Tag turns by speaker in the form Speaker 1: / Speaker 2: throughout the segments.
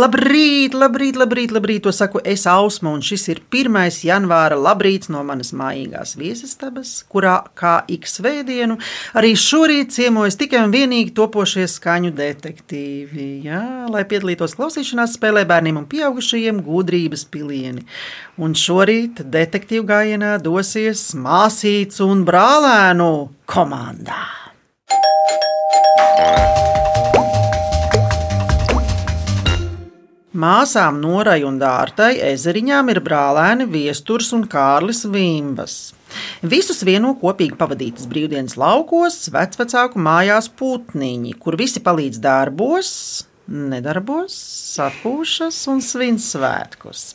Speaker 1: Labrīt, labrīt, labrīt, labrīt. To saku es Ausma, un šis ir 1. janvāra labrīts no manas mājīgās viesistabas, kurā kā ik svētdienu arī šorīt ciemojas tikai un vienīgi topošie skaņu detektīvi. Jā, lai piedalītos klausīšanās spēlē bērniem un pieaugušajiem gudrības pilieni. Un šorīt detektīvu gājienā dosies māsīts un brālēnu komandā. Māsām Norai un Dārtai ezeriņām ir brālēni Viesturs un Kārlis Vimbas. Visus vieno kopīgi pavadītas brīvdienas laukos, vecvecāku mājās putniņi, kur visi palīdz darbos, nedarbos, atpūšas un svin svētkus.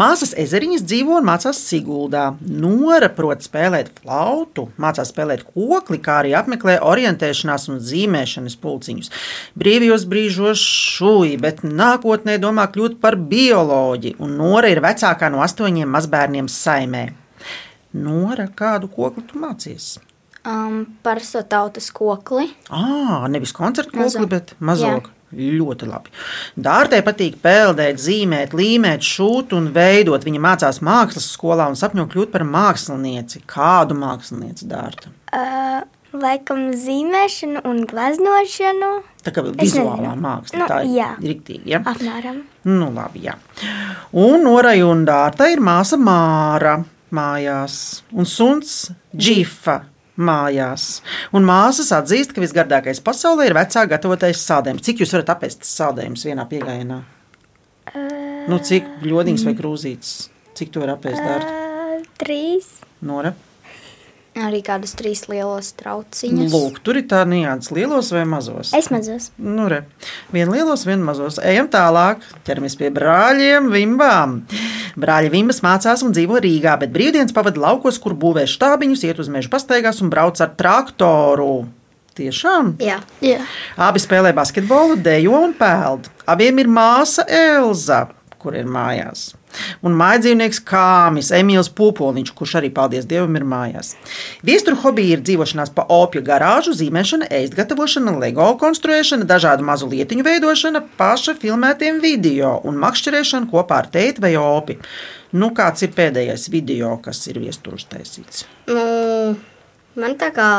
Speaker 1: Māsas ezeriņas dzīvo un mācās Siguldā. Nora prot spēlēt flautu, mācās spēlēt kokli, kā arī apmeklē orientēšanās un zīmēšanas pulciņus. Brīvajos brīžos šūj, bet nākotnē domā kļūt par bioloģi, un Nora ir vecākā no astoņiem mazbērniem saimē. Nora, kādu kokli tu mācījies?
Speaker 2: Um, Parasto tautas kokli.
Speaker 1: Ah, nevis koncertu kokli,
Speaker 2: Mazo.
Speaker 1: bet mazāk. Ļoti labi. Dārtai patīk peldēt, zīmēt, līmēt, šūt un veidot. Viņa mācās mākslas skolā un sapņo kļūt par mākslinieci. Kādu mākslinieci dārta?
Speaker 2: Uh, laikam zīmēšanu un gleznošanu.
Speaker 1: Tā kā
Speaker 2: Es
Speaker 1: vizuālā
Speaker 2: nezinu.
Speaker 1: māksla
Speaker 2: Nu,
Speaker 1: tā
Speaker 2: jā.
Speaker 1: ir rīktīva. Ja?
Speaker 2: Apmēram.
Speaker 1: Nu, labi, jā. Un Norai un Dārtai ir māsa Māra mājās un suns Džifa. Mājās. Un māsas atzīst, ka visgardākais pasaulē ir vecā gatavotais sādējums. Cik jūs varat apēst sādējumus vienā piegājienā? Nu, cik ļodiņas vai krūzītes? Cik to var apēst dārta?
Speaker 2: Uh, trīs.
Speaker 1: Nora?
Speaker 3: Arī kādas trīs lielas trauciņas.
Speaker 1: Lūk, tur ir tā nians lielos vai mazos?
Speaker 2: Es mazos.
Speaker 1: Nu, re. Vien lielos, vien mazos. Ejam tālāk. Ķeramies pie brāļiem, vimbām. Brāļi Vimbas mācās un dzīvo Rīgā, bet brīvdienas pavada laukos, kur būvē štābiņus, iet uz meža pastaigās un brauc ar traktoru. Tiešām!
Speaker 3: Jā,
Speaker 2: Jā.
Speaker 1: Abi spēlē basketbolu, dejo un peld. Abiem ir māsa Elza, kur ir mājās. Un mājdzīvnieks Kāmis, Emīls Pūpoliņš, kurš arī, paldies Dievam, ir mājās. Viesturu hobija ir dzīvošanās pa opju garāžu, zīmēšana, ēstgatavošana, lego konstruēšana, dažādu mazu lietiņu veidošana, paša filmētiem video un makšķerēšana kopā ar tēti vai opi. Nu, kāds ir pēdējais video, kas ir viesturus taisīts?
Speaker 3: nu, man tā kā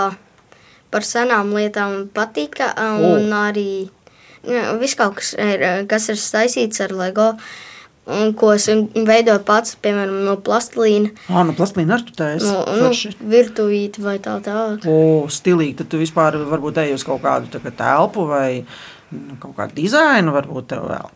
Speaker 3: par senām lietām patika. Un
Speaker 1: O.
Speaker 3: arī nu, viss kaut kas ir, kas ir saistīts ar LEGO. Un, ko es veidoju pats, piemēram, no plastelīna,
Speaker 1: Ā, nu, plastīna ar tu taisi.
Speaker 3: no nu,
Speaker 1: Forši.
Speaker 3: virtuvīta vai tā tālāk.
Speaker 1: O, stilīgi, tad tu vispār varbūt ej uz kaut kādu tā kā telpu vai nu, kaut kādu dizainu, varbūt tev vēl.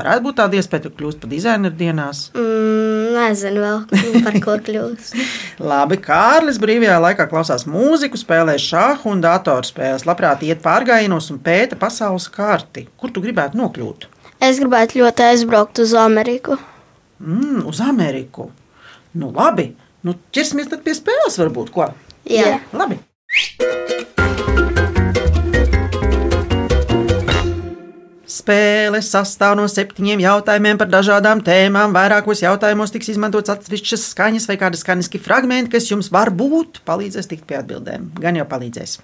Speaker 1: Varētu būt tāda iespēja, ka tu kļūsi par dizaineru dienās.
Speaker 3: Mm, nezinu vēl, par ko kļūst.
Speaker 1: Labi, Kārlis brīvajā laikā klausās mūziku, spēlē šāhu un datorspēles. Labprāt, iet pārgājienos un pēta pasaules karti. Kur tu gribētu nokļūt?
Speaker 2: Es gribētu ļoti aizbraukt uz Ameriku.
Speaker 1: Mm, uz Ameriku. Nu, labi, nu, ķersimies tad pie spēles, varbūt. Ko?
Speaker 3: Jā. Jā.
Speaker 1: Labi. Spēle sastāv no septiņiem jautājumiem par dažādām tēmām. Vairākos jautājumos tiks izmantots atsevišķas skaņas vai kādi skaņiski fragmenti, kas jums varbūt palīdzēs tikt pie atbildēm. Gan jau palīdzēs.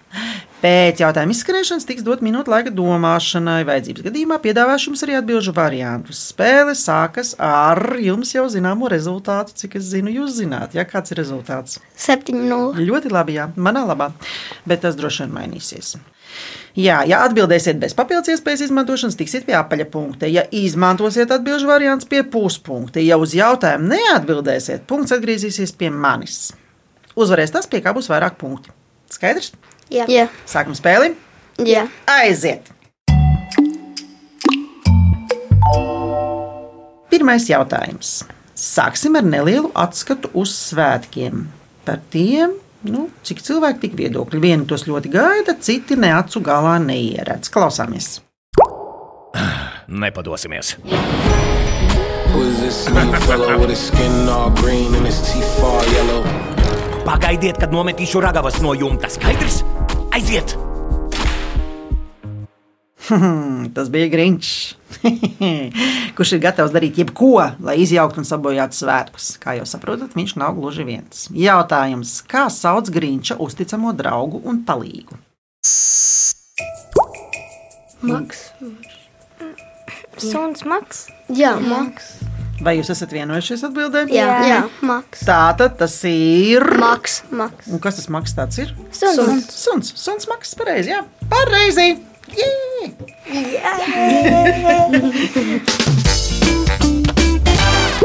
Speaker 1: Pēc jautājuma izskanēšanas tiks dot minūte laika domāšanai. Vajadzības gadījumā piedāvāšu jums arī atbildžu variantus. Spēle sākas ar jums jau zināmo rezultātu, cik es zinu, jūs zināt, ja kāds ir rezultāts.
Speaker 2: 7-0.
Speaker 1: Ļoti labi, jā, manā labā, bet tas droši vien mainīsies. Jā, ja atbildēsiet bez papildus iespējas izmantošanas, tiksiet pie apaļa punkta. Ja izmantosiet atbildžu variants pie puspunkta, ja uz jautājumu neatbildēsiet, punkts atgriezīsies pie manis. Uzvarēs tas, pie kā būs vairāk punktu. Skaidrs?
Speaker 3: Jā.
Speaker 2: Jā.
Speaker 1: Sākam spēli!
Speaker 2: Jā.
Speaker 1: Aiziet! Pirmais jautājums. Sāksim ar nelielu atskatu uz svētkiem. Par tiem, nu, cik cilvēki tik viedokļi. Vieni tos ļoti gaida, citi ne acu galā neieredz. Klausāmies!
Speaker 4: Nepadosimies.
Speaker 5: Who's this new fellow with his skin all green and his teeth all yellow?
Speaker 4: Pagaidiet, kad nometīšu ragavas no jumta. Skaidrs? Aiziet!
Speaker 1: Hmm, Tas bija Grinčs, kurš ir gatavs darīt jebko, lai izjauktu un sabojātu svētkus. Kā jau saprotat, viņš nav gluži viens. Jautājums: kā sauc Grinča uzticamo draugu un palīgu?
Speaker 3: Maks.
Speaker 6: Suns maks.
Speaker 2: Jā, maks.
Speaker 1: Vai jūs esat vienojušies atbildēt?
Speaker 3: Jā.
Speaker 6: Jā.
Speaker 2: Jā, maks.
Speaker 1: Tā tad tas ir.
Speaker 3: Maks.
Speaker 2: Maks.
Speaker 1: Un kas tas maksā? Tas ir
Speaker 2: Suns.
Speaker 1: Suns, suns, suns maksā pareizi. Jā, pareizi. Jē!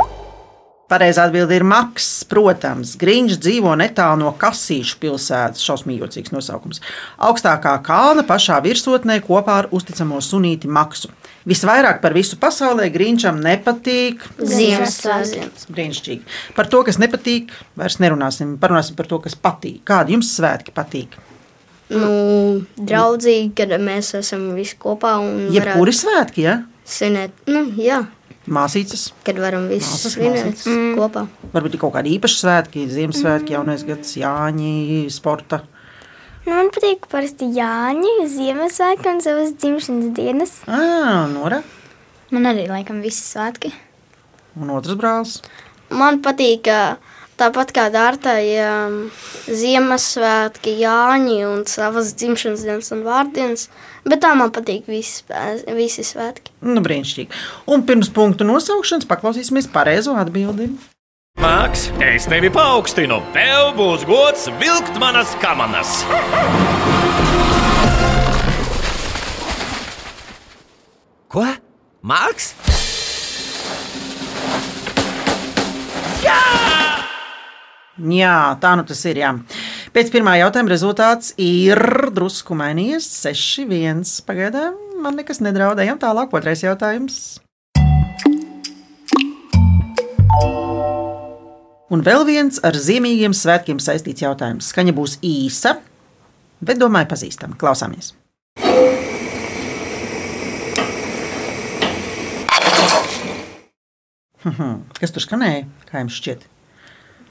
Speaker 1: Pareizā atbilde ir Maks. Protams, Grīņš dzīvo netālu no Kasīšu pilsētas. Šausmīgais nosaukums. Augstākā kalna pašā virsotnē kopā ar uzticamo sunīti Maksu. Visvairāk par visu pasaulē Grīņšam nepatīk.
Speaker 3: Ziemassvētki.
Speaker 1: Brīnišķīgi. Par to, kas nepatīk, vairs nerunāsim. Parunāsim par to, kas patīk. Kādi jums svētki patīk?
Speaker 3: Nu, draudzīgi, kad mēs esam visi kopā un
Speaker 1: Jebkuri svētki, ja?
Speaker 3: svinēt. Nu, jā,
Speaker 1: Māsīcas,
Speaker 3: kad varam visi
Speaker 1: Māsas,
Speaker 3: svinēt kopā.
Speaker 1: varbūt ir kaut kādi īpaši svētki, Ziemassvētki, jaunais gads, Jāņi, sporta.
Speaker 6: Nu, man patīk parasti Jāņa, Ziemassvētku un savas dzimšanas dienas.
Speaker 1: Ā, Nora
Speaker 7: Man arī laikam visi svētki.
Speaker 1: un otrs brālis.
Speaker 2: Man patīk ā, tāpat kā Dārtai, ā, Ziemassvētki, Jāņi un savas dzimšanas dienas un vārdienas, bet tā man patīk visi, spē- visi svētki.
Speaker 1: Nu, brīnišķīgi. Un pirms punktu nosaukšanas paklausīsimies pareizo atbildi.
Speaker 4: Māks, es tevi paaugstinu. Tev būs gods vilkt manas kamanas. Ko? Māks?
Speaker 1: Jā, tā nu tas ir. Jā. Pēc pirmā jautājuma rezultāts ir drusku mainījies. 6-1. Pagaidām man nekas nedraudējām. Tālāk, otrais jautājums. Un vēl viens ar zīmīgiem svētkiem saistīts jautājums. Skaņa būs īsa, bet domāju, pazīstama. Klausāmies! Mhm. Kas tur skanēja? Kā jums šķiet?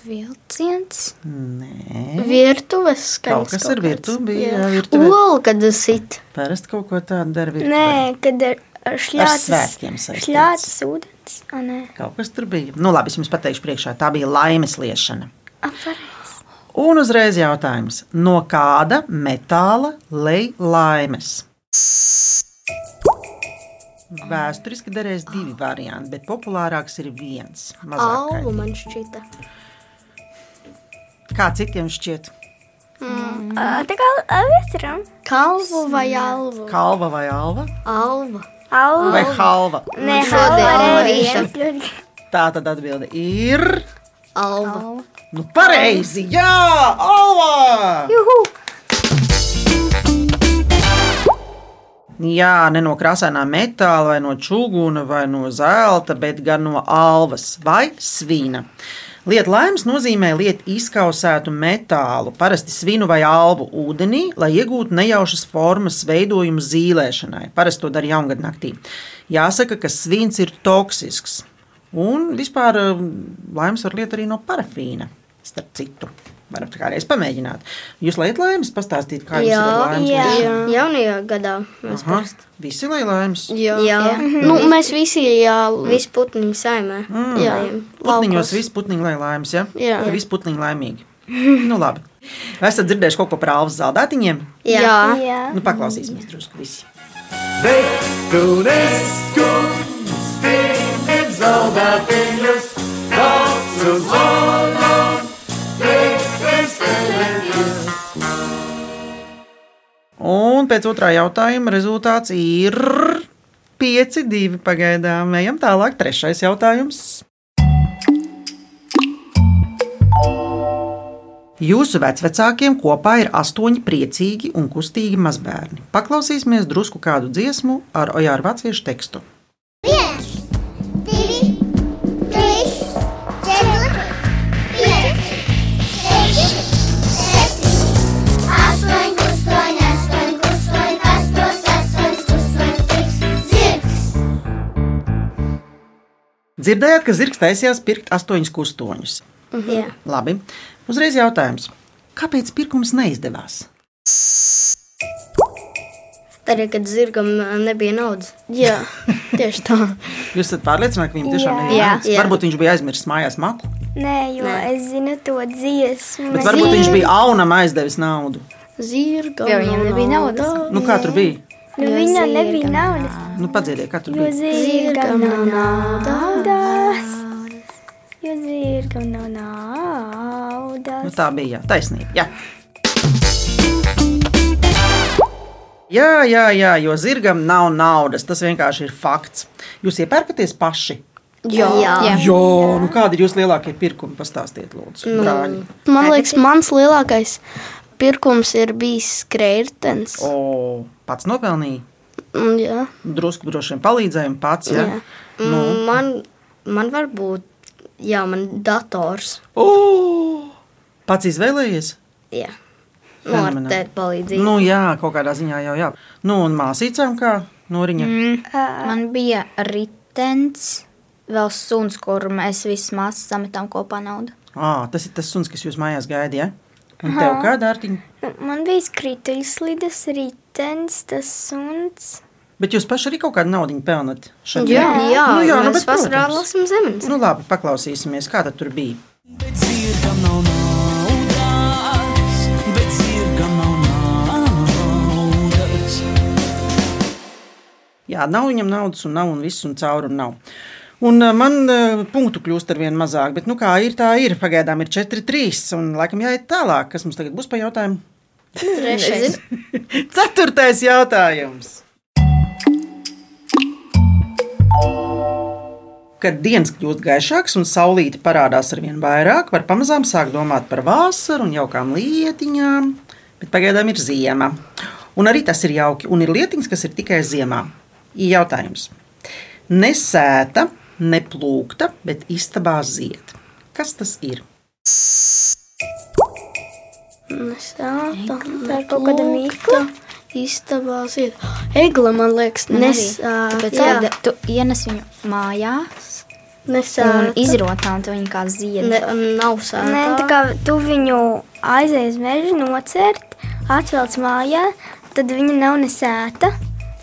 Speaker 7: Vilciens.
Speaker 1: Nē,
Speaker 2: Virtuves
Speaker 1: kaut
Speaker 2: skaņas.
Speaker 1: kas ar virtuvi bija. jā, virtuvē.
Speaker 3: Olu, kad sit.
Speaker 1: Parasti kaut ko tādu dara virtuvē.
Speaker 6: Nē, kad ir ar šļācis.
Speaker 1: svētkiem saistīts.
Speaker 6: Šļācis ūdens. A, nē.
Speaker 1: Kaut kas tur bija. Nu, labi, es jums pateikšu, priekšā tā bija laimes liešana. Un uzreiz jautājums, no kāda metāla lej laimes? Vēsturiski derēs divi varianti, bet populārāks ir viens.
Speaker 3: Alu
Speaker 1: mazākais.
Speaker 3: man šķita.
Speaker 1: Kā citiem šķiet,
Speaker 2: Mm.
Speaker 6: A, Tā kā vēsturam.
Speaker 3: Kalvu vai alvu?
Speaker 1: kalva vai alva
Speaker 3: Alva.
Speaker 6: Alva.
Speaker 1: vai halva?
Speaker 6: Nē,
Speaker 3: šodien no rīta.
Speaker 6: rīta.
Speaker 1: Tā tad atbilde ir.
Speaker 3: Alva.
Speaker 1: Nu, pareizi! Jā, Alva! Juhu! Jā, ne no krāsainā metāla, vai no čūguna, vai no zelta, bet gan no alvas vai svīna. Lieta laimes nozīmē lietu izkausētu metālu, parasti svinu vai alvu ūdenī, lai iegūtu nejaušas formas veidojumu zīlēšanai. Parasti to dara jaungad naktī. Jāsaka, ka svins ir toksisks. Un vispār eh, laimes var liet arī no parafīna, starp citu. Varat kādreiz pamēģināt. Jūs lietat laimes, pastāstīt, kā jums
Speaker 3: Jā,
Speaker 1: ir laimes.
Speaker 6: jā.
Speaker 1: liešana?
Speaker 3: Jā. Jaunajā gadā mēs
Speaker 1: Aha, visi lai laimes.
Speaker 3: Jā, jā.
Speaker 2: Jā. Nu, mēs visi jā,
Speaker 3: visi putni saimē.
Speaker 2: jā,
Speaker 1: Putniņos viss putniņš lai laimes, ja?
Speaker 2: Jā.
Speaker 1: Visi putniņi laimīgi. nu, labi. Vai esat dzirdējuši kaut ko par alvas zaldātiņiem?
Speaker 3: Jā.
Speaker 2: jā.
Speaker 6: Jā.
Speaker 1: Nu, paklausīsimies drusku visi. Un pēc otrā jautājuma rezultāts ir 5-2. Pagaidām, ejam tālāk. Trešais jautājums. Jūsu vecākiem kopā ir astoņi priecīgi un kustīgi mazbērni. Paklausīsimies drusku kādu dziesmu ar Ojāra vāciešu tekstu. Dzirdējāt, ka zirgs taisījās pirkt astoņus kustoņus.
Speaker 2: jā.
Speaker 1: Labi, uzreiz jautājums. Kāpēc pirkums neizdevās?
Speaker 3: Tad, kad zirgam ā, nebija naudas,
Speaker 2: jā. tieši tā.
Speaker 1: Jūs esat pārliecināti, ka viņam tiešām
Speaker 6: Jā.
Speaker 1: nebija naudas.
Speaker 3: Jā.
Speaker 1: Varbūt viņš bija aizmirsis mājās maku,
Speaker 6: Nē, jo Nē. es zinu to dziesmu.
Speaker 1: bet varbūt viņš bija aunam aizdevis naudu.
Speaker 3: zirga
Speaker 7: Jo viņam nebija naudas.
Speaker 1: Nu, kā tur bija?
Speaker 6: Nu,
Speaker 7: Jo
Speaker 6: viņa
Speaker 7: zirgam
Speaker 6: nebija naudas,
Speaker 1: Nu, padziediet, kā tur bija.
Speaker 6: Jo
Speaker 2: Zirgam
Speaker 6: zirgam nav
Speaker 2: nav
Speaker 6: naudas. Jo zirgam nav naudas.
Speaker 1: Nu, tā bija jā, taisnība. Jā. Jā, jā, jā, jo zirgam nav naudas. Tas vienkārši ir fakts. Jūs iepērkaties paši.
Speaker 3: Jā, jā.
Speaker 1: Jā, nu kādi ir jūsu lielākie pirkumi? Pastāstiet, lūdzu, brāļi.
Speaker 2: Man liekas, mans lielākais pirkums ir bijis skrejtens.
Speaker 1: O, pats nopelnīja.
Speaker 2: Jā,
Speaker 1: Drusku droši vien palīdzēja un pats. Jā.
Speaker 2: Jā.
Speaker 1: Nu.
Speaker 3: Man, man var būt, jā, man dators.
Speaker 1: O, pats izvēlējies.
Speaker 3: Jā. Nu, ar
Speaker 1: Fenomenāli.
Speaker 3: tēta palīdzību.
Speaker 1: Nu, jā, kaut kādā ziņā jau jā. Nu, un māsīcām kā noriņa. Mm.
Speaker 7: Man bija ritens, vēl suns, kur mēs vismaz sametām kopā naudu.
Speaker 1: Ah, tas ir tas suns, kas jūs mājās gaida. Ja? Un tev kāda ar viņu?
Speaker 6: Nu, Man bija krituļslīdes, rītens, tas suns.
Speaker 1: Bet jūs paši arī kaut kādu naudu pelnāt šeit?
Speaker 3: jā, jā,
Speaker 1: nu, jā nu,
Speaker 3: mēs
Speaker 1: bet,
Speaker 3: vasarā
Speaker 1: protams.
Speaker 3: lasām zemes.
Speaker 1: Nu, labi, paklausīsimies, kā tad tur bija. Jā, nav viņam naudas, un nav un viss, un caurumu nav. Un eh, man eh, punktu kļūst ar vien mazāk, bet nu kā ir, tā ir. Pagaidām ir 4, 3, un laikam jāiet tālāk. Kas mums tagad būs pa jautājumu?
Speaker 3: Trešais.
Speaker 1: Ceturtais jautājums. Kad dienas kļūst gaišākas un saulīte parādās ar vien vairāk, var pamazām sākt domāt par vasaru un jaukām lietiņām, bet pagaidām ir ziema. Un arī tas ir jauki, un ir lietiņas, kas ir tikai ziemā. Jautājums. Nesēta, neplūkta, bet istabā zied. Kas tas ir?
Speaker 2: nesāta.
Speaker 6: Tā ir kaut kāda mīkla.
Speaker 2: Istabā ir egla, man liekas,
Speaker 7: Tāpēc,
Speaker 2: nesāta.
Speaker 7: kad tu ienes viņu mājās un
Speaker 2: nesāta.
Speaker 7: izrotā, un tu viņu kā ziedu.
Speaker 3: Ne, nav sāpīgi.
Speaker 6: Nē, tā kā tu viņu aizej uz mežu, nocērt, atvelc mājā, tad viņa nav nesēta,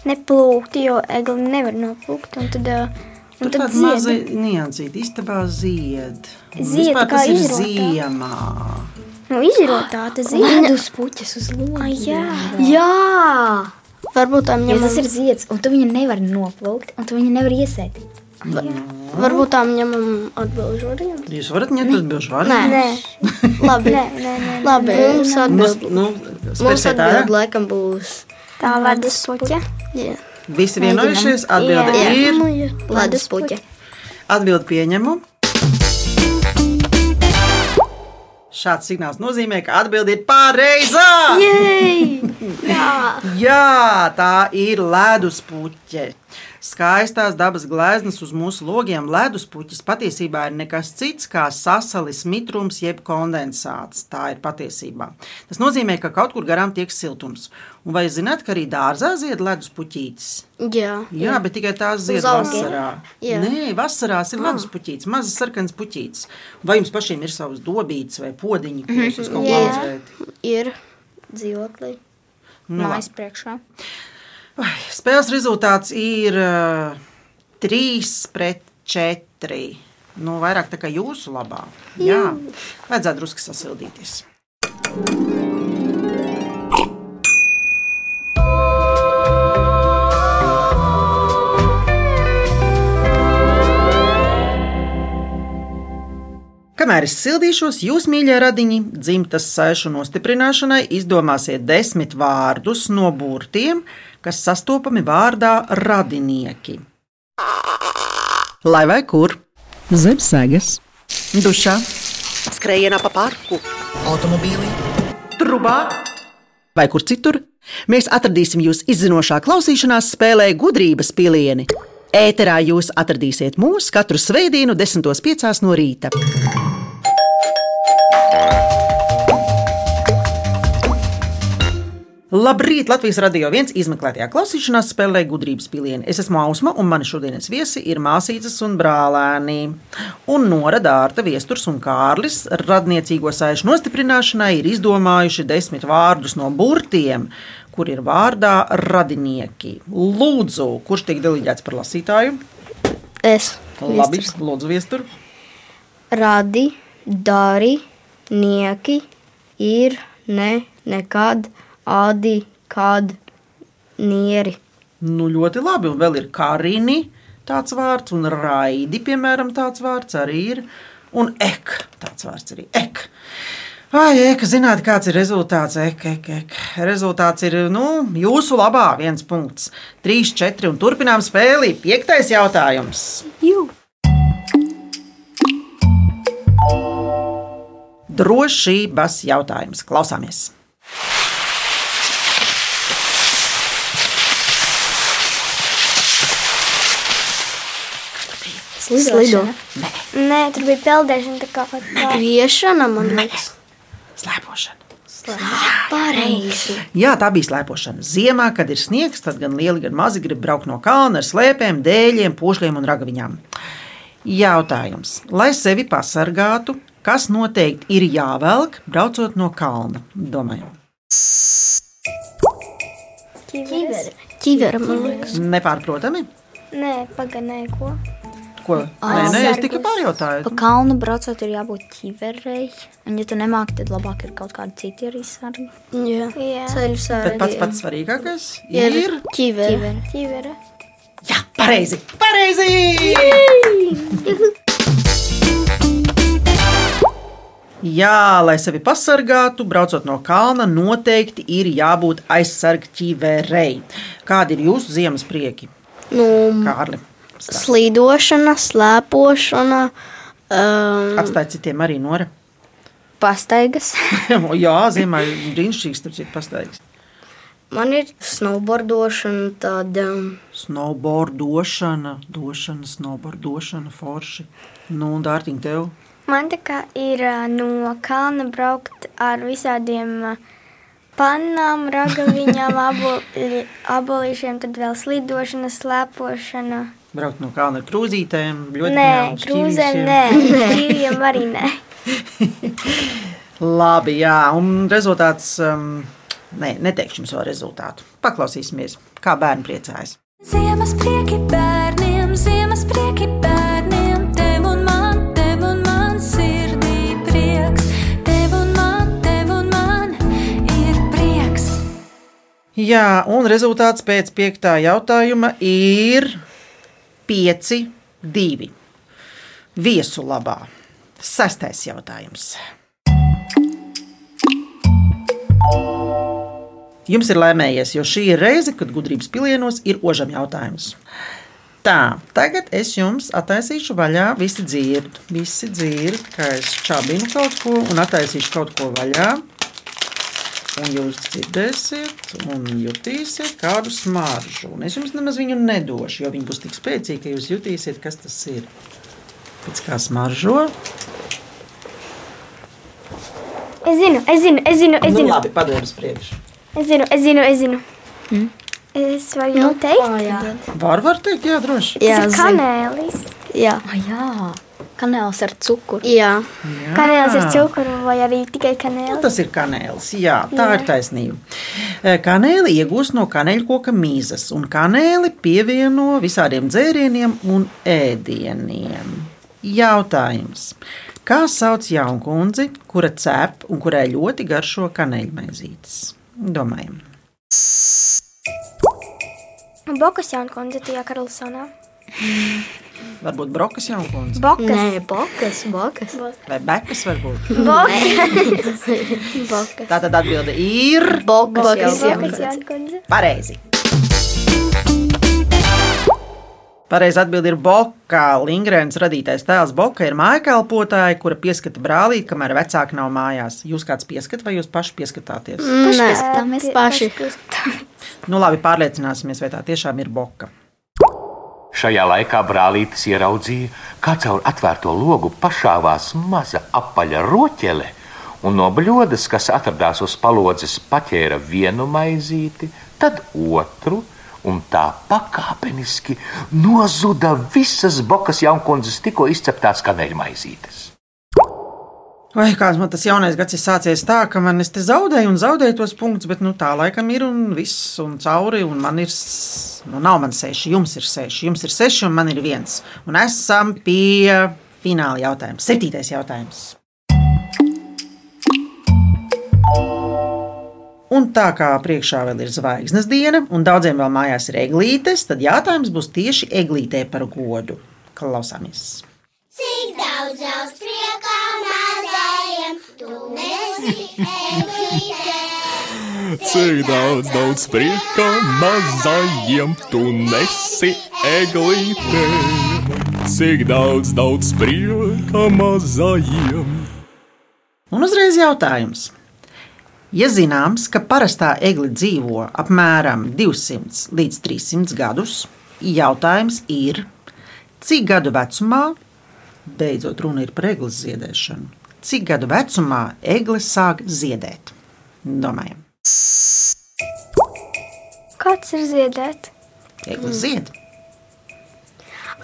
Speaker 6: neplūkta, jo egli nevar noplūkt. Un tad, ā, un Nu, tad
Speaker 1: tāda maza niansīta. nu Istabā zied. Un
Speaker 6: Zied,
Speaker 1: vispār
Speaker 6: kā
Speaker 1: tas ir
Speaker 6: izrotā.
Speaker 1: ziemā.
Speaker 6: Nu, izžirotā, tas
Speaker 3: Viņa
Speaker 6: ir.
Speaker 3: uz puķes uz
Speaker 6: Ai,
Speaker 3: logu.
Speaker 6: jā.
Speaker 3: Jā,
Speaker 2: Varbūt tā
Speaker 7: Jo
Speaker 2: ņemam,
Speaker 7: tas ir zieds, un tu viņu nevari noplūkt, un tu viņu nevari iesēt.
Speaker 2: varbūt tā ņemam atbilžu variantu.
Speaker 1: Jūs varat ņemt atbildžu vārdu?
Speaker 2: Nē,
Speaker 6: Nē,
Speaker 2: labi.
Speaker 6: nē, nē, nē.
Speaker 2: Labi, mums
Speaker 1: Mums,
Speaker 2: atbild.
Speaker 1: nu,
Speaker 3: mums
Speaker 1: spērsiet ārā.
Speaker 3: atbild laikam būs
Speaker 6: tā ledus puķa.
Speaker 2: Jā.
Speaker 1: Visi vienojušies, atbilde
Speaker 6: Jā.
Speaker 1: ir.
Speaker 2: Nu, jā.
Speaker 3: ledus puķe.
Speaker 1: Atbildi pieņemu. Šāds signāls nozīmē, ka atbildi ir pareizā. Jā, tā ir leduspuķe. Skaistās dabas gleznas uz mūsu logiem leduspuķis patiesībā ir nekas cits kā sasalis mitrums jeb kondensāts. Tā ir patiesībā. Tas nozīmē, ka kaut kur garām tiek siltums. Un vai zināt, ka arī dārzā zied leduspuķītis?
Speaker 2: jā.
Speaker 1: Jā, jā, bet tikai tās zied
Speaker 3: augiem.
Speaker 1: vasarā.
Speaker 2: Jā.
Speaker 1: Nē, vasarā ir ledus puķītis, mazs sarkans puķītis. Vai jums pašiem ir savs dobīts vai podziņš, ko jūs uz kaut kā
Speaker 2: Jā.
Speaker 1: audzējat?
Speaker 2: Ir.
Speaker 3: dzīvoklī.
Speaker 1: Nu, labi.
Speaker 7: Mājas priekšā.
Speaker 1: Ai, Spēles rezultāts ir 3 pret 4. Nu, vairāk tā kā jūsu labā. Jā, vajadzētu drusku sasildīties. Kamēr es sildīšos, jūs, mīļie radiņi, dzimtas sēžu nostiprināšanai izdomāsiet desmit vārdus no burtiem, kas sastopami vārdā radinieki. Lai vai kur? Zem sēgas, dušā, skrejienā pa parku, automobīlī, trubā vai kur citur. Mēs atradīsim jūs izzinošā klausīšanās spēlē gudrības pilieni. Ēterā jūs atradīsiet mūs katru svētdienu, 10.5. no rīta. Labrīt! Latvijas radio viens izmeklētajā klausīšanās spēlē gudrības pilieni. Es esmu Ausma, un mani šodienas viesi ir māsīcas un brālēni. Un Nora Dārta, Viesturs un Kārlis radniecīgo saišu nostiprināšanai ir izdomājuši desmit vārdus no burtiem, kur ir vārdā radinieki. Lūdzu, kurš tiek deliģēts par lasītāju?
Speaker 3: Es
Speaker 1: Labi, lūdzu, Viestur.
Speaker 3: radi, dari, nieki ir ne, nekad, adi, kad, nieri.
Speaker 1: Nu, ļoti labi. Un vēl ir karini tāds vārds, un raidi, piemēram, tāds vārds arī ir. Un ek, tāds vārds arī ek. Ai, ek, zināt, kāds ir rezultāts? Ek, ek, ek. Rezultāts ir nu, jūsu labā viens punkts. Trīs, četri un turpinām spēli. Piektais jautājums. Drošības jautājums. Klausāmies!
Speaker 2: Slido.
Speaker 6: Nē, tur bija peldēšana tā kā pat tā.
Speaker 2: Griešana, man liekas.
Speaker 1: Slēpošana.
Speaker 2: Pareizi.
Speaker 1: Jā, tā bija slēpošana. Ziemā, kad ir sniegs, tad gan lieli, gan mazi grib braukt no kalna ar slēpēm, dēļiem, pošļiem un ragaviņām. Jautājums. Lai sevi pasargātu, kas noteikti ir jāvelk, braucot no kalna? Domājam,
Speaker 6: Ķiveres.
Speaker 2: Ķivera, man liekas.
Speaker 1: nepārprotami.
Speaker 6: Nē, pagaidām, ko.
Speaker 1: Ko? Nē, nē, es tikai
Speaker 7: Pa
Speaker 1: pārjautāju.
Speaker 7: kalnu braucot, ir jābūt ķiverei. Un, ja tu nemāki, tad labāk ir kaut kādi citi arī sargi.
Speaker 2: Jā.
Speaker 6: Jā,
Speaker 3: Ceļu
Speaker 1: Bet pats
Speaker 3: sārgi.
Speaker 1: pats svarīgākais ir.
Speaker 2: Ķivera.
Speaker 6: ķivere.
Speaker 1: Jā, pareizi! Pareizi! Jā, lai sevi pasargātu, braucot no kalna, noteikti ir jābūt aizsargķīverei. Kādi ir jūsu ziemas prieki,
Speaker 2: Nu,
Speaker 1: Kārli? Stāsti.
Speaker 2: slidošana, slēpošana. Um,
Speaker 1: Atstāj citiem arī nore.
Speaker 7: Pastaigas.
Speaker 1: Jā, ziemā ir brīnišķīgs, tas ir pastāvīgs.
Speaker 3: Man ir snowboardošana, tad um,
Speaker 1: Snowboardošana, došana, snowboardošana, forši. Nu, un dārtiņ tev.
Speaker 6: Man tā kā ir ā, no kalna braukt ar visādiem ā, pannām, ragaviņām, aboli, abolīšiem, tad vēl slidošana, slēpošana.
Speaker 1: Braukt no kalna ar krūzītēm, ļoti
Speaker 6: Nē, krūzēm, nē, ķiviem arī nē.
Speaker 1: Labi, jā, un rezultāts. Um, nē, neteikšu jums vēl rezultātu. Paklausīsimies, kā bērni priecājas.
Speaker 8: Ziemas prieki bērniem, ziemas prieki bērniem, tev un man, tev un man sirdī prieks. Tev un man, tev un man ir prieks.
Speaker 1: Jā, un rezultāts pēc piektā jautājuma ir 5, 2. Viesu labā. Sestais jautājums. Jums ir laimējies, jo šī ir reize, kad gudrības pilienos ir ožam jautājums. Tā, tagad es jums attaisīšu vaļā. Visi dzird, visi dzird, ka es čabinu kaut ko un attaisīšu kaut ko vaļā. Un jūs dzirdēsiet, un jutīsiet kādu smaržu. Un es jums nemaz viņu nedošu, jo viņi būs tik spēcīgi, ka jūs jutīsiet, kas tas ir. Pēc kā smaržo?
Speaker 6: Es zinu, es zinu, es zinu, es
Speaker 1: Nu,
Speaker 6: zinu.
Speaker 1: labi, padodas priekšā.
Speaker 6: Es zinu, es zinu, es zinu.
Speaker 1: Mm.
Speaker 6: Es varu jau teikt,
Speaker 1: Var, var teikt, jā, droši.
Speaker 3: Nu,
Speaker 6: tas
Speaker 3: jā,
Speaker 6: ir
Speaker 3: zinu.
Speaker 6: kanēlis.
Speaker 3: Jā.
Speaker 7: Ah, jā, kanēls ar cukuru.
Speaker 2: jā.
Speaker 1: Jā.
Speaker 6: Kanēlis
Speaker 1: Ah.
Speaker 6: ar cukuru vai arī tikai kanēlis.
Speaker 1: Nu, tas ir kanēlis. Jā, tā jā. ir taisnība. E, Kanēli iegūst no kanēļkoka mīzes, un kanēli pievieno visādiem dzērieniem un ēdieniem. Jautājums. Kā sauc jaunkundzi, kura cep un kurai ļoti garšo kanēļmaizītes? Domājam,
Speaker 6: Bokas jaunkundze tajā Karlsonā.
Speaker 1: varbūt brokas jaunkundze
Speaker 6: Bokas.
Speaker 3: Nē, bokas, bokas.
Speaker 1: vai bekas varbūt.
Speaker 6: Bokas
Speaker 1: Tā tad atbilde ir
Speaker 3: Bokas, bokas, jā.
Speaker 6: Bokas jaunkundze.
Speaker 1: pareizi. Pareizi atbild ir Boka. Lingrēns radītais tēls Boka ir mājkalpotāja, kura pieskata brālīti, kamēr vecāki nav mājās. Jūs kāds pieskat vai jūs paši pieskatāties? Mm.
Speaker 2: Nē,
Speaker 7: Tā mēs
Speaker 2: paši.
Speaker 1: Nu, labi, pārliecināsimies, vai tā tiešām ir Boka.
Speaker 9: Šajā laikā brālītis ieraudzīja, kā caur atvērto logu pašāvās maza apaļa roķele, un no bļodas, kas atradās uz palodzes, paķēra vienu maizīti, tad otru, un tā pakāpeniski nozuda visas bokas jaunkundzes tikko izceptās kanēļmaizītes.
Speaker 1: Vai kāds man tas jaunais gads ir sācies tā, ka man es te zaudēju un zaudēju tos punktus, bet nu, tā laikam ir un viss, un cauri, un man ir, s- nu, nav man seši, jums ir seši, jums ir seši, un man ir viens. Un esam pie fināla jautājuma. Septītais jautājums. Un tā kā priekšā vēl ir zvaigznes diena, un daudziem vēl mājās ir eglītes, tad jautājums būs tieši eglītē par godu. Klausāmies!
Speaker 10: Cik daudz daudz priekā mazajam, tu esi eglīte.
Speaker 11: Cik daudz, daudz prieka mazajiem tu nesi eglītē. Cik daudz, daudz prieka mazajiem.
Speaker 1: Un uzreiz jautājums. Ja zināms, ka parastā egle dzīvo apmēram 200 līdz 300 gadus, jautājums ir, cik gadu vecumā, beidzot runa ir par egles ziedēšanu, cik gadu vecumā egle sāk ziedēt? Domājam,
Speaker 6: Kāds ir ziedēt?
Speaker 1: egle zied,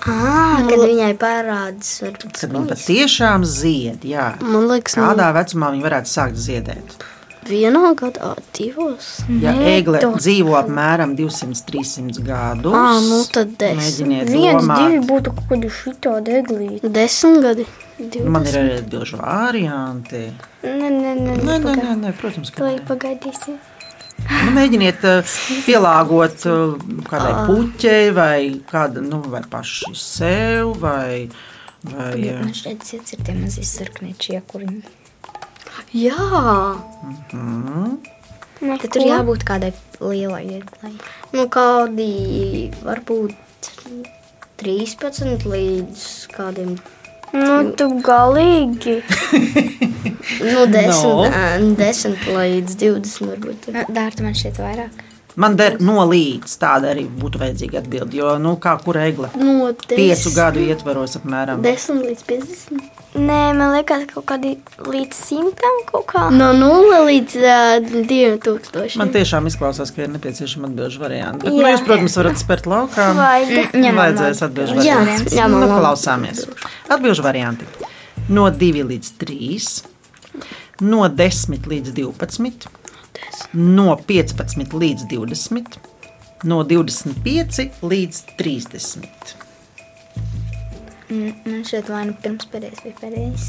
Speaker 3: À, kad viņai parādās, varbūt
Speaker 1: kad viņa patiešām zied. Jā.
Speaker 3: Mm.
Speaker 2: Man liekas,
Speaker 1: Kādā vecumā viņa varētu sākt ziedēt?
Speaker 2: vienā gadā, divos.
Speaker 1: Ja
Speaker 6: Nē,
Speaker 1: egle
Speaker 6: tu-
Speaker 1: dzīvo apmēram 200-300 gadus,
Speaker 2: Ā, nu tad desmit.
Speaker 1: mēģiniet
Speaker 6: Viens, divi
Speaker 1: domāt.
Speaker 6: būtu kaut kādi šito deglīti.
Speaker 2: Desmit gadi.
Speaker 1: Man ir arī daži varianti.
Speaker 6: Nē, nē, nē,
Speaker 1: Nē, nē, nē, nē, protams, ka
Speaker 6: Lai
Speaker 1: nē.
Speaker 6: pagaidīsim.
Speaker 1: Nu, mēģiniet eh, pielāgot eh, kādai puķei, vai kādam nu, vai pašai sev, vai, vai eh,
Speaker 7: Man šeit sirds ir tie mazie sarkanie čiekuriņi.
Speaker 3: Jā,
Speaker 6: Nu,
Speaker 7: Tad tur jābūt kādai lielai iedai.
Speaker 3: nu kādi varbūt 13 līdz kādiem
Speaker 6: Nu, tu galīgi.
Speaker 3: nu, 10,
Speaker 1: No.
Speaker 3: no. 10 līdz 20. Varbūt.
Speaker 7: Dārta man šeit vairāk.
Speaker 1: man der no līdz tāda arī būtu vajadzīga atbilde. Jo nu, kā kura egla?
Speaker 2: No
Speaker 1: Piecu gadu ietvaros apmēram.
Speaker 2: 10 līdz 50.
Speaker 6: Nē, man liekas, kaut kādi līdz simtam kaut kā.
Speaker 2: No 0 līdz uh, 2000.
Speaker 1: Man tiešām izklausās, ka ir nepieciešama atbildžu varianta. Bet, nu, jūs, protams, varat spērt laukā.
Speaker 6: Vai
Speaker 1: Viņam vajadzēs atbildžu
Speaker 3: Jā,
Speaker 1: variantu.
Speaker 3: jā,
Speaker 1: nu,
Speaker 3: man labi.
Speaker 1: klausāmies. Atbildžu varianti. No 2 līdz 3, no 10 līdz 12, no 15 līdz 20, no 25 līdz 30.
Speaker 7: Mm, Man šeit vai nu pirms pēdējais bija pēdējais.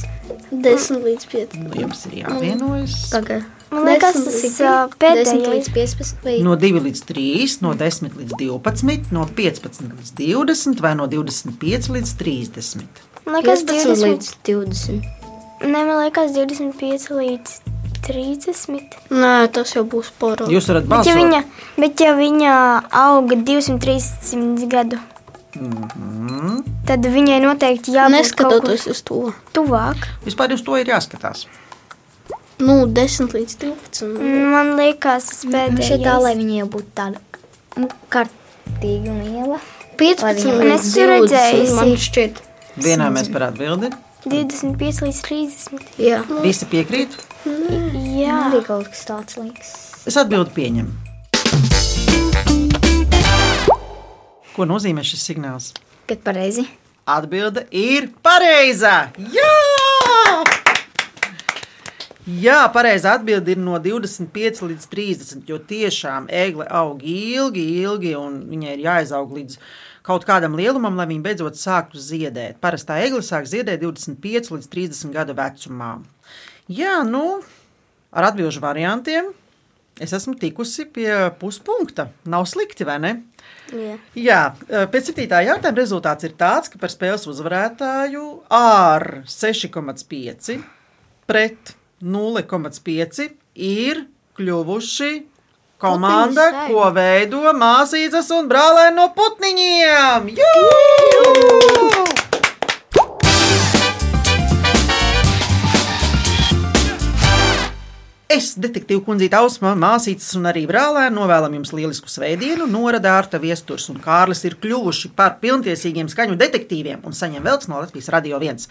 Speaker 2: 10 līdz 5.
Speaker 1: Nu, jums ir jāvienojas.
Speaker 3: Mm.
Speaker 6: Man liekas, tas ir ā,
Speaker 7: 10
Speaker 6: pēdējais.
Speaker 7: līdz 15 līdz.
Speaker 1: No 2 līdz 3, no 10 līdz 12, no 15 līdz 20 vai no 25 līdz 30.
Speaker 6: Man liekas,
Speaker 3: 15
Speaker 6: 20.
Speaker 3: līdz 20.
Speaker 6: Nē, man liekas, 25 līdz 30.
Speaker 2: Nē, tas jau būs poro.
Speaker 1: Jūs varat
Speaker 6: Bet ja,
Speaker 1: balsot.
Speaker 6: viņa, bet ja viņa auga 200-300 gadu, tad viņai noteikti jābūt
Speaker 2: Neskatoties uz to.
Speaker 6: kaut kur tuvāk.
Speaker 1: Vispār uz to ir jāskatās.
Speaker 2: Nu, 10 līdz
Speaker 3: Mm.
Speaker 2: 12.
Speaker 6: Man liekas, tas
Speaker 7: Man
Speaker 6: pēdējais.
Speaker 7: šeit tā, lai viņa jau būtu tāda nu, kārtīga un liela.
Speaker 3: 15 līdz
Speaker 6: Un es esmu
Speaker 3: 20.
Speaker 6: redzējusi.
Speaker 3: Man šķiet,
Speaker 1: Vienā mēs par atbildi.
Speaker 6: 25 līdz 30.
Speaker 3: jā.
Speaker 1: Visi piekrīt.
Speaker 6: Jā,
Speaker 7: Arī kaut kas tāds liekas.
Speaker 1: Es atbildu pieņemu. Ko nozīmē šis signāls?
Speaker 7: Kad pareizi.
Speaker 1: Atbilde ir pareizā! Jā! Jā, pareizā atbilde ir no 25 līdz 30. Jo tiešām egle aug ilgi, ilgi, un viņai ir jāizaug līdz kaut kādam lielumam, lai viņa beidzot sāktu ziedēt. Parastā egle sāk ziedēt 25 līdz 30 gadu vecumā. Jā, nu, ar atbildžu variantiem es esmu tikusi pie puspunkta. Nav slikti, vai ne? Jā, e, pēc 7. jautājuma rezultāts ir tāds, ka par spēles uzvarētāju ar 6,5 pret 0,5 ir kļuvuši komanda, ko veido māsīcas un brālēni no putniņiem. Jū! Es, detektīva kundzīte, Ausma, māsītes un arī brālēni, novēlam jums lielisku svētdienu. Norada Arta viesturs un Kārlis ir kļuvuši par pilntiesīgiem skaņu detektīviem un saņem veltes no Latvijas Radio 1.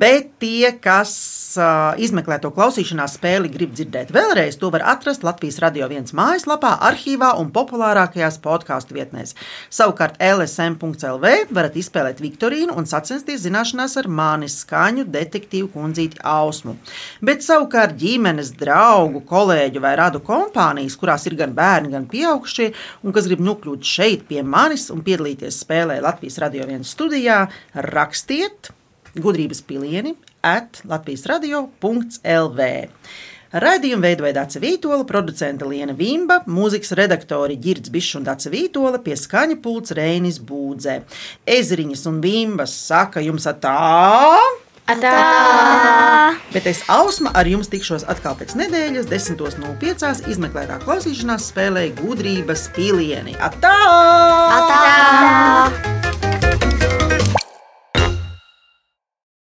Speaker 1: Bet tie, kas uh, izmeklē to klausīšanās spēli, grib dzirdēt vēlreiz, to var atrast Latvijas Radio 1 mājaslapā, arhīvā un populārākajās podkāstu vietnēs. Savukārt LSM.CLV varat izspēlēt Viktorīnu un sacensties zināšanās ar mani skaņu detektīvu kundzīti Ausmu. Bet savukārt ģimenes draugu, kolēģu vai radu kompānijas, kurās ir gan bērni, gan pieaugušie, un kas grib nokļūt šeit pie manis un piedalīties spēlē Latvijas Radio 1 studijā, rakstiet gudrības pilieni at latvijas radio.lv. Raidījumu veidoja Dāca Vītola, producente Liena Vimba, mūzikas redaktori Girds Bišs un Dāca Vītola, pie skaņa pults Reinis Būdzē. Ezriņas un Vimbas saka jums atā!
Speaker 2: Atā!
Speaker 1: Bet es ausma ar jums tikšos atkal pēc nedēļas, 10.05. izmeklētā klausīšanās spēlē gudrības pilieni. Atā!
Speaker 2: Atā! Atā!